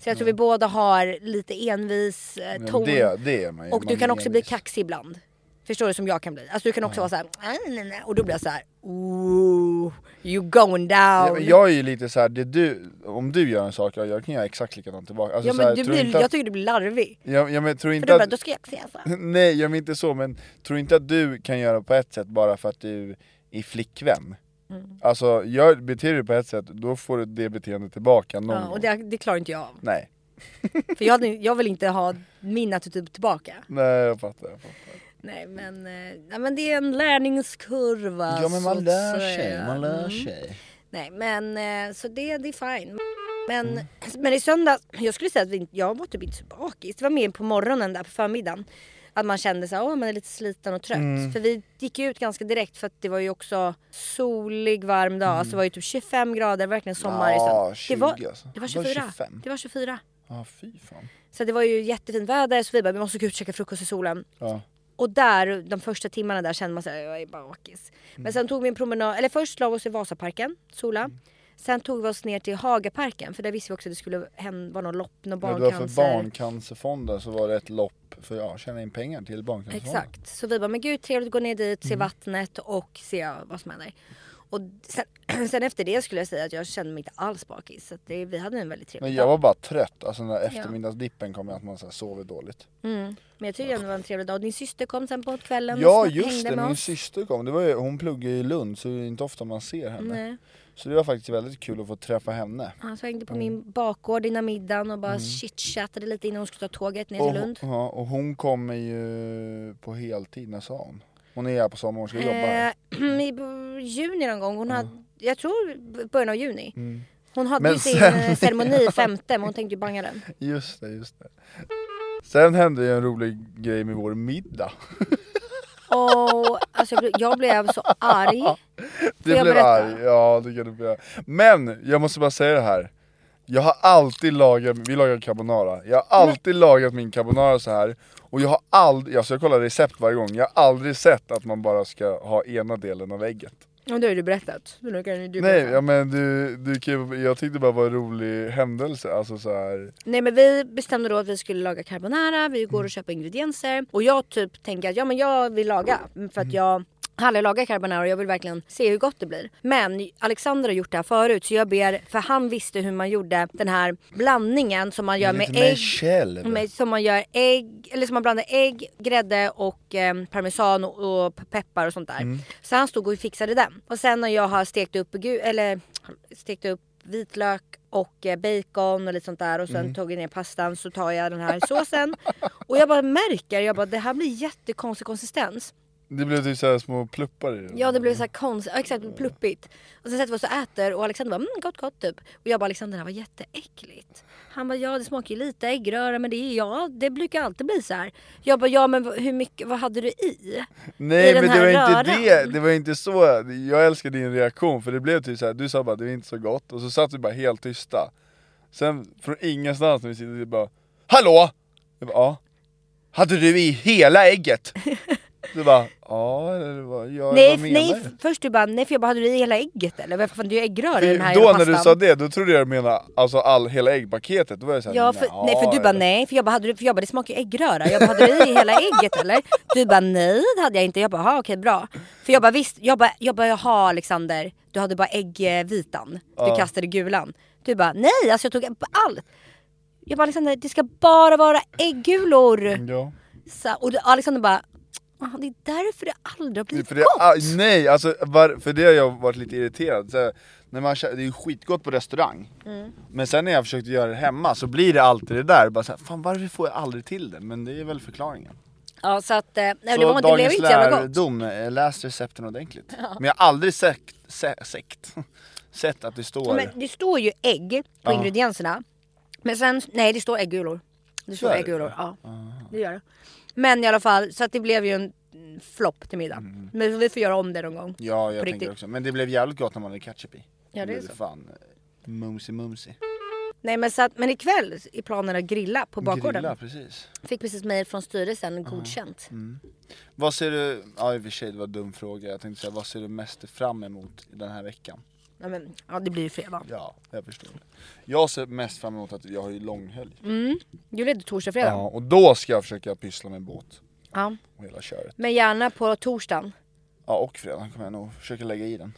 Så jag tror vi båda har lite envis eh, Men ton. Det, det är man ju. Och man du kan är också bli envis. kaxig ibland. Förstår du som jag kan bli? Alltså du kan också vara såhär, "Nej, nej, nej." och då blir jag såhär, ooh, you going Ja, down. men jag är ju lite så här, det du, om du gör en sak, jag, jag kan göra exakt likadant tillbaka. Alltså, ja, så här, men du tror blir, inte jag att, tycker du blir larvig. jag, jag men, tror För inte då bara, att, då ska jag säga så. här. nej jag menar inte så, men tror inte att du kan göra på ett sätt bara för att du är flickvän. Mm. Alltså, gör, beter du dig på ett sätt, då får du det beteendet tillbaka någon Ja, gång. och det, det klarar inte jag av. Nej, För jag, hade- jag vill inte ha min attityd tillbaka. nej jag fattar. Jag fattar. Nej men, eh, nej, men det är en lärningskurva. Ja men man Alltså, så lär att säga. sig, man lär Mm. sig. Nej men eh, så det, det är fine. Men, men i söndags, jag skulle säga att vi, inte- jag var typ inte så bakis. Det var mer på morgonen där på förmiddagen. Att man kände så här, åh man är lite sliten och trött. Mm. För vi gick ju ut ganska direkt för att det var ju också solig varm dag. Alltså det var ju typ 25 grader, verkligen sommar i Mm. Ja, söndags. Det 20 var, alltså. Det det var var 24. 25. Det var 24. Ja, ah, fy fan. Så det var ju jättefint väder så vi bara, vi måste gå ut och käka frukost i solen. Ja. Och där, de första timmarna där kände man sig jag är bakis. Mm. Men sen tog vi en promenad, eller först la vi oss i Vasaparken, sola. Sen tog vi oss ner till Hagaparken för där visste vi också att det skulle hem, vara någon lopp, någon Ja, det var för barncancer. Barncancerfonden så var det ett lopp för att ja, tjäna in pengar till Barncancerfonden. Exakt. Så vi bara, men gud trevligt att gå ner dit, Mm. se vattnet och se vad som händer. Och sen, sen (clears throat) efter det skulle jag säga att jag kände mig inte alls bakis. Så att det, vi hade en väldigt Men trevlig jag dag. var bara trött, alltså den där eftermiddagsdippen kom jag att man så här sover dåligt. Men jag tyckte ändå det var en trevlig dag. Och din syster kom sen på kvällen ja och sn- just hängde det, med min oss. syster kom, det var ju, hon pluggar ju i Lund så det är inte ofta man ser henne. Nej. Så det var faktiskt väldigt kul att få träffa henne. Han så hängde på Mm. min bakgård innan middagen och bara chitchattade lite innan hon skulle ta tåget ner Och, till Lund. ja, och hon kommer ju på heltid, när sa hon? Hon är här på sommaren, hon ska jobba här. Eh, (clears throat) I b- juni någon gång, hon hade, jag tror b- början av juni. Hon hade Mm. Men ju sin sen- eh, ceremoni femte men hon tänkte ju banga den. Just det, just det. Sen hände ju en rolig grej med vår middag. Och alltså jag, blev, jag blev så arg. (laughs) Du jag blev berätta? arg, ja det kan du bli. Men jag måste bara säga det här. Jag har alltid lagat, vi lagar carbonara, jag har alltid lagat min carbonara så här. Och jag har aldrig, alltså jag kollar recept varje gång, jag har aldrig sett att man bara ska ha ena delen av ägget. Och det har ju du berättat. Men då kan ju du Nej, berätta. ja, men du, du kan, ju- jag tyckte det bara var en rolig händelse, alltså så här. Nej men vi bestämde då att vi skulle laga carbonara, vi går och köper ingredienser och jag typ tänker att ja men jag vill laga för att jag har aldrig lagat carbonara och jag vill verkligen se hur gott det blir. Men Alexander har gjort det här förut så jag ber, för han visste hur man gjorde den här blandningen som man gör med Lite mer ägg. själv. Med, som man gör ägg, eller som man blandar ägg, grädde och eh, parmesan och, och peppar och sånt där. Så han stod och fixade den. Och sen när jag har stekt upp, gu- eller, stekt upp vitlök och eh, bacon och lite sånt där och sen tog jag ner pastan så tar jag den här såsen. och jag bara märker, jag bara det här blir jättekonstig konsistens. Det blev typ så här små pluppar i den. Ja det blev så här konstigt, ja, Mm. exakt pluppigt. Och sen sätter vi oss och äter och Alexander bara mm, gott gott typ. Och jag bara Alexander det här var jätteäckligt. Han bara ja det smakar ju lite äggröra men det är ja det brukar alltid bli så här. Jag bara ja men v- hur mycket, vad hade du i? i Nej den men det här var inte röran. det, det var inte så, jag älskar din reaktion för det blev typ så här, du sa bara det är inte så gott och så satt vi bara helt tysta Sen från ingenstans när vi sitter vi bara Hallå! Jag bara, ja Hade du i hela ägget? Du bara ja eller vad, ja, nej vad f- menar nej du? f- först du bara nej för jag bara hade du i hela ägget eller? Vad fan det är ju äggröra i den här Då pastan. när du sa det, då trodde jag du menade alltså all, hela äggpaketet, då var jag såhär Ja, för, nej för du bara nej, för jag bara, hade du, för jag bara det smakar ju äggröra. Jag bara, hade du i hela ägget eller? Du bara nej det hade jag inte. Jag bara aha, okej bra. För jag bara visst, jag bara, jag bara jaha Alexander, du hade bara äggvitan. Du kastade gulan. Du bara nej, alltså jag tog allt. Jag bara Alexander det ska bara vara ägggulor. Ja. Så, och du, Alexander bara, "Ah, det är därför det aldrig har blivit För det, gott. ah, nej, alltså, var, för det har jag varit lite irriterad. Så här, när man, kä- det är ju skitgott på restaurang, Mm. men sen när jag försökte göra det hemma så blir det alltid det där. Bara så här, fan varför får jag aldrig till det? Men det är väl förklaringen. Ja så att, eh, nej, men det, så var, det blev inte så jävla gott. lärdom, eh, läs recepten ordentligt. Men jag har aldrig sekt, se, sekt, sett (laughs) att det står... Men det står ju ägg på ingredienserna. Men sen, nej det står äggulor. Det står Gör det? Ah. äggulor, ja. Det gör det. Men i alla fall, så att det blev ju en flopp till middag. Men vi får göra om det någon gång. Mm. ja, jag på tänker riktigt. också. Men det blev jävligt gott när man hade ketchup i. Ja, det är blir så. fan eh, mumsy mumsy. Nej men så att, men ikväll i planen att grilla på bakgården. Grilla, precis. Fick precis mejl från styrelsen, Ah, godkänt. mm. Vad ser du, ja i och för sig det var en dum fråga, jag tänkte säga vad ser du mest fram emot den här veckan? Ja, men, ja det blir ju fredag. Ja, jag förstår. det. Jag ser mest fram emot att jag har ju långhelg. Du leder torsdag, fredag. Ja, och då ska jag försöka pyssla med båt Ja. och hela köret. Men gärna på torsdagen. Ja, och fredag kommer jag nog försöka lägga i den.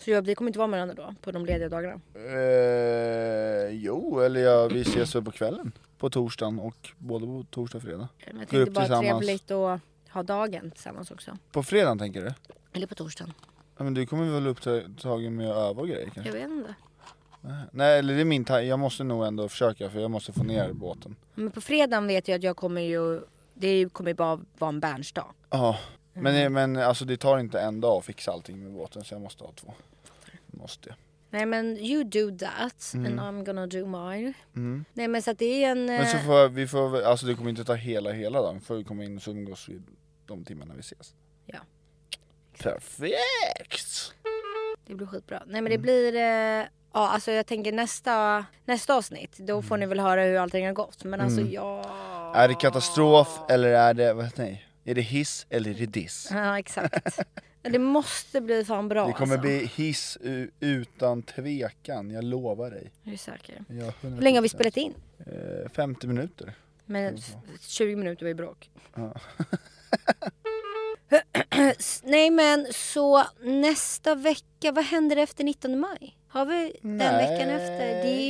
Så jag, vi kommer inte vara med varandra då på de lediga dagarna. Eh, jo, eller jag, vi ses väl på kvällen. På torsdagen och både på torsdag och fredag. Men jag Går tänkte upp bara tillsammans. trevligt att ha dagen tillsammans också. På fredagen tänker du? Eller på torsdagen. Ja, men du kommer väl upptagen med att öva och grejer kanske? Jag vet inte. Nej, eller det är min tanke. Jag måste nog ändå försöka för jag måste få ner båten. Men på fredagen vet jag att jag kommer ju, det kommer ju bara vara en bärnsdag. Ja, men, Mm. men alltså det tar inte en dag att fixa allting med båten så jag måste ha två. Måste jag. Nej men you do that and I'm gonna do mine. Nej men så att det är en... Mm. Men så eh, får jag- vi får, väl- alltså det kommer inte ta hela hela dagen för vi kommer in och så umgås vi de timmarna vi ses. Ja. Perfekt! Det blir skitbra. Nej Mm. men det blir, eh, ja alltså jag tänker nästa, nästa avsnitt, då får Mm. ni väl höra hur allting har gått. Men alltså jag... (laughs) Är det katastrof eller är det, vad, nej, är det hiss eller är det diss? Ja exakt. Det måste bli fan bra Det kommer alltså. bli hiss u- utan tvekan, jag lovar dig. Jag är säker. Jag, Hur länge har vi spelat in? Eh, 50 minuter. Men f- 20 minuter var ju bråk. S- (laughs) Nej men så nästa vecka, vad händer efter 19 maj? Har vi den Nej. veckan efter? Det...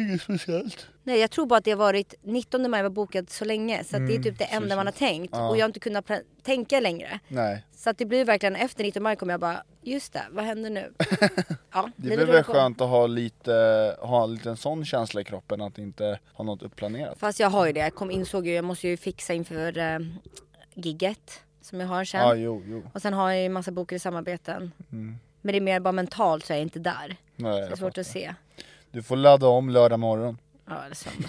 Inget speciellt. Nej jag tror bara att det har varit 19 maj var bokat så länge så att Mm, det är typ det enda man har tänkt och jag har inte kunnat pra- tänka längre. Nej, Så att det blir verkligen efter 19 maj kommer jag bara, just det, vad (laughs) händer nu? ja, det livet blir väl rullar på. skönt att ha lite, ha en liten sån känsla i kroppen att inte ha något uppplanerat. Fast jag har ju det, jag kom, insåg ju jag måste ju fixa inför eh, gigget som jag har sen. Ja, ah, jo, jo. Och sen har jag ju massa bokade samarbeten. Men det är mer bara mentalt så är jag inte där. Nej, Det är jag svårt fattar. att se. Du får ladda om lördag morgon. Ja, (laughs) eller söndag.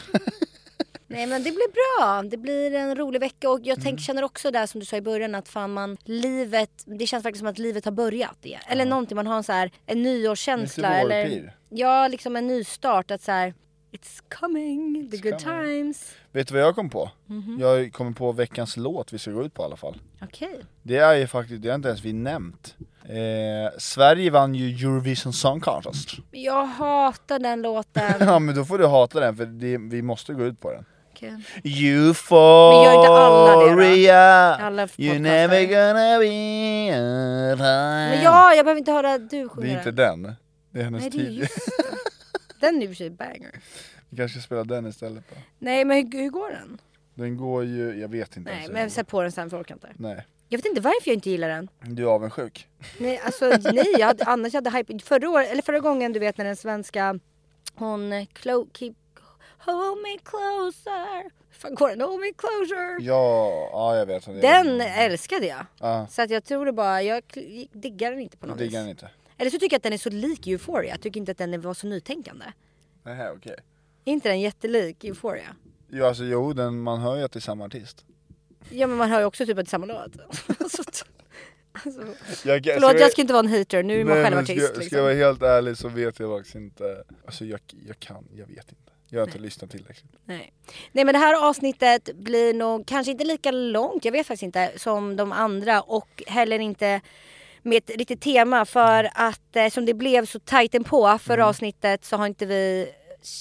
Nej men det blir bra, det blir en rolig vecka och jag Mm. tänk, känner också där som du sa i början att fan man, livet, det känns faktiskt som att livet har börjat igen. Eller någonting, man har en så här, en nyårskänsla Lite eller vårpir. Ja liksom en ny start att så här, it's coming, the good coming. times. Vet du vad jag kom på? Mhm. Jag kommer på veckans låt vi ska gå ut på i alla fall. Okej, Det är ju faktiskt, det har inte ens vi nämnt. Eh, Sverige vann ju Eurovision Song Contest. (laughs) jag hatar den låten. Ja men då får du hata den för det, vi måste gå ut på den. Okej. Euphoria, gör inte alla det då? Alla you're podcastar. never gonna be alone. Men ja, jag behöver inte höra du sjunga Det är inte den. den. Det är hennes Nej det är tid. just det. (laughs) Den är i och för sig banger. Vi kanske spelar den istället då. Nej men hur, hur går den? Den går ju, jag vet inte Nej ens hur men den sätt på den sen för jag orkar inte. går. Nej. Jag vet inte varför jag inte gillar den. Du är avundsjuk. Nej, alltså, nej jag hade, annars hade jag hype. Förra, år, eller förra gången du vet när den svenska hon eh, Clo, keep, Hold me closer. Hur fan går den? Hold me closer. Ja, ja jag vet vad det är. Den älskade jag. Ja. Så att jag tror det bara, jag kl- diggar den inte på något Det kan vis. jag inte. Eller så tycker jag att den är så lik Euphoria. Jag tycker inte att den var så nytänkande. Nähä okej. Är inte den jättelik Euphoria? Jo alltså jo, den, man hör ju att det är samma artist. Ja men man hör ju också typ att det är samma låt. (laughs) alltså, t- alltså, Jag, förlåt jag ska inte vara en hater, nu är man Nej, själv men ska, artist ska liksom. jag vara helt ärlig så vet jag faktiskt inte, alltså jag, jag kan, jag vet inte. Jag har inte lyssnat tillräckligt. Nej. Nej men det här avsnittet blir nog kanske inte lika långt, jag vet faktiskt inte, som de andra och heller inte med ett riktigt tema för att eh, som det blev så tajt på förra Mm. avsnittet så har inte vi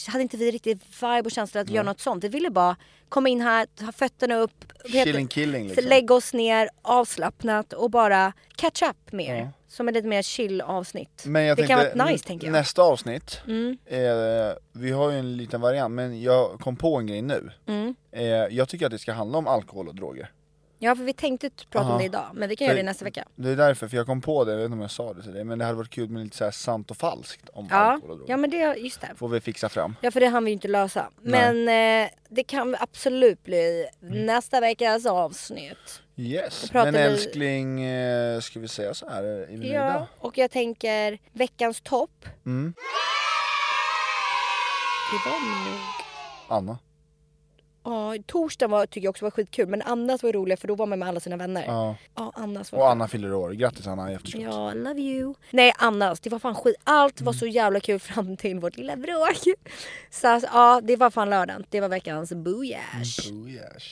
hade inte vi riktigt vibe och känsla att göra något sånt. Vi ville bara komma in här, ha fötterna upp, vad heter- Chilling killing liksom. lägga oss ner avslappnat och bara catch up mer. Som ett lite mer chill avsnitt. Men jag det kan tänkte, vara nice tänker jag. Mm. Nästa avsnitt, eh, vi har ju en liten variant men jag kom på en grej nu. Mm. Eh, jag tycker att det ska handla om alkohol och droger. Ja för vi tänkte t- prata om det idag men vi kan göra det För- nästa vecka. Det är därför, för jag kom på det, jag vet inte om jag sa det till dig, men det hade varit kul med lite så här sant och falskt om Ja, alkohol och droger. ja men det, just det. Får vi fixa fram. Ja för det hann vi ju inte lösa. Men eh, det kan absolut bli Mm. nästa veckas avsnitt. Yes, pratar men vi- älskling, eh, ska vi säga så här? Är vi Ja, nöjda? Mm. och jag tänker veckans topp. Det var nog Anna. Ja, torsdagen var, tycker jag också var skitkul men Annas var rolig för då var man med alla sina vänner. Ja. Ja, Annas var Och Anna fyller år, grattis Anna Mm. i efterskott. Ja, love you. Nej annars, det var fan skit. Allt var så jävla kul fram till vårt lilla bråk. Så alltså, ja, det var fan lördagen. Det var veckans booyash. Oh, yes.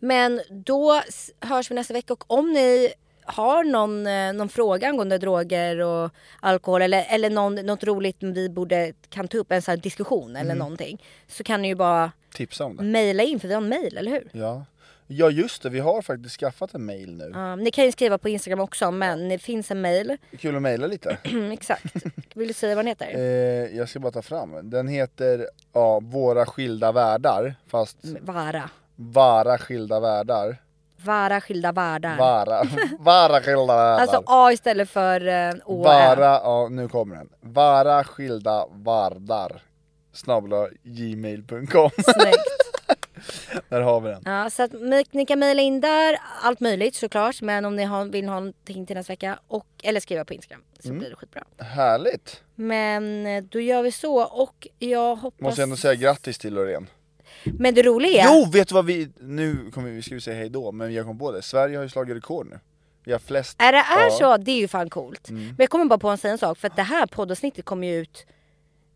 Men då s- hörs vi nästa vecka och om ni har någon, eh, någon fråga angående droger och alkohol eller, eller någon, något roligt vi borde kan ta upp, en sån här diskussion Mm. eller någonting. Så kan ni ju bara Tipsa om det. mejla in för vi har en mejl, eller hur? Ja. ja just det, vi har faktiskt skaffat en mail nu. Ja, ni kan ju skriva på Instagram också men det finns en mejl. (clears throat) Kul att mejla lite. Mm, exakt. Vill du säga vad den heter? Eh, jag ska bara ta fram. Den heter ja, Våra skilda världar, fast Mm. Vara. Vara skilda världar. Vara skilda världar. Vara, (laughs) vara skilda världar. Alltså A istället för eh, Å. och Ä. Vara, ja nu kommer den. Vara skilda vardar. Snabla (laughs) gmail.com. Snyggt. Där har vi den. Ja, så att ni- ni kan mejla in där, allt möjligt såklart. Men om ni har, vill ha någonting till nästa vecka, och, eller skriva på Instagram så Mm. blir det skitbra. Härligt! Men eh, då gör vi så och jag hoppas... Måste jag ändå säga grattis till Loreen. Men det roliga är... Jo, vet du vad vi, nu kommer vi, ska vi säga hejdå, men jag kom på det. Sverige har ju slagit rekord nu. Vi har flest, Är det är Ja. Mm. så, det är ju fan coolt. Men jag kommer bara på en säga en sak, för att det här poddavsnittet kommer ju ut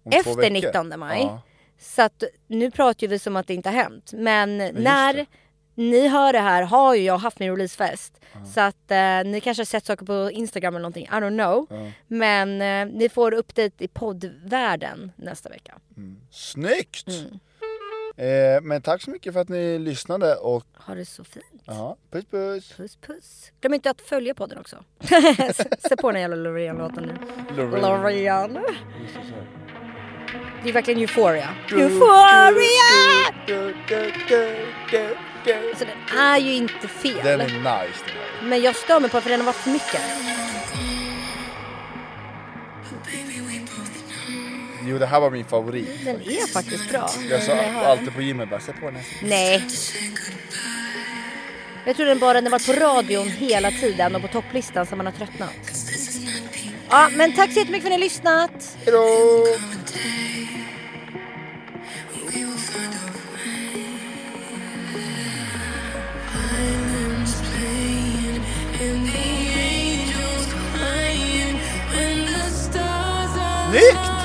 om två efter veckor. 19 maj. Ja. Så att nu pratar ju vi som att det inte har hänt. Men när ni hör det här har ju jag haft min releasefest. Så att eh, ni kanske har sett saker på Instagram eller någonting. I don't know. Men eh, ni får update i poddvärlden nästa vecka. Snyggt! Mm. Eh, men tack så mycket för att ni lyssnade och Ha det så fint. ja, puss puss! Puss puss. Glöm inte att följa (laughs) podden också. Se på den här jävla Loreen-låten nu. Loreen. Loreen. Det är verkligen euphoria. Euphoria! Så den är ju inte fel. Den är nice den här. Men jag stör mig på för den har varit för mycket. Jo det här var min favorit. Den är faktiskt bra. Jag sa alltid på gymmet bara, sätt på den här. Nej. Jag tror den bara den var på radion hela tiden och på topplistan så man har tröttnat. Ja, men tack så jättemycket för att ni har lyssnat. Hejdå! Snyggt!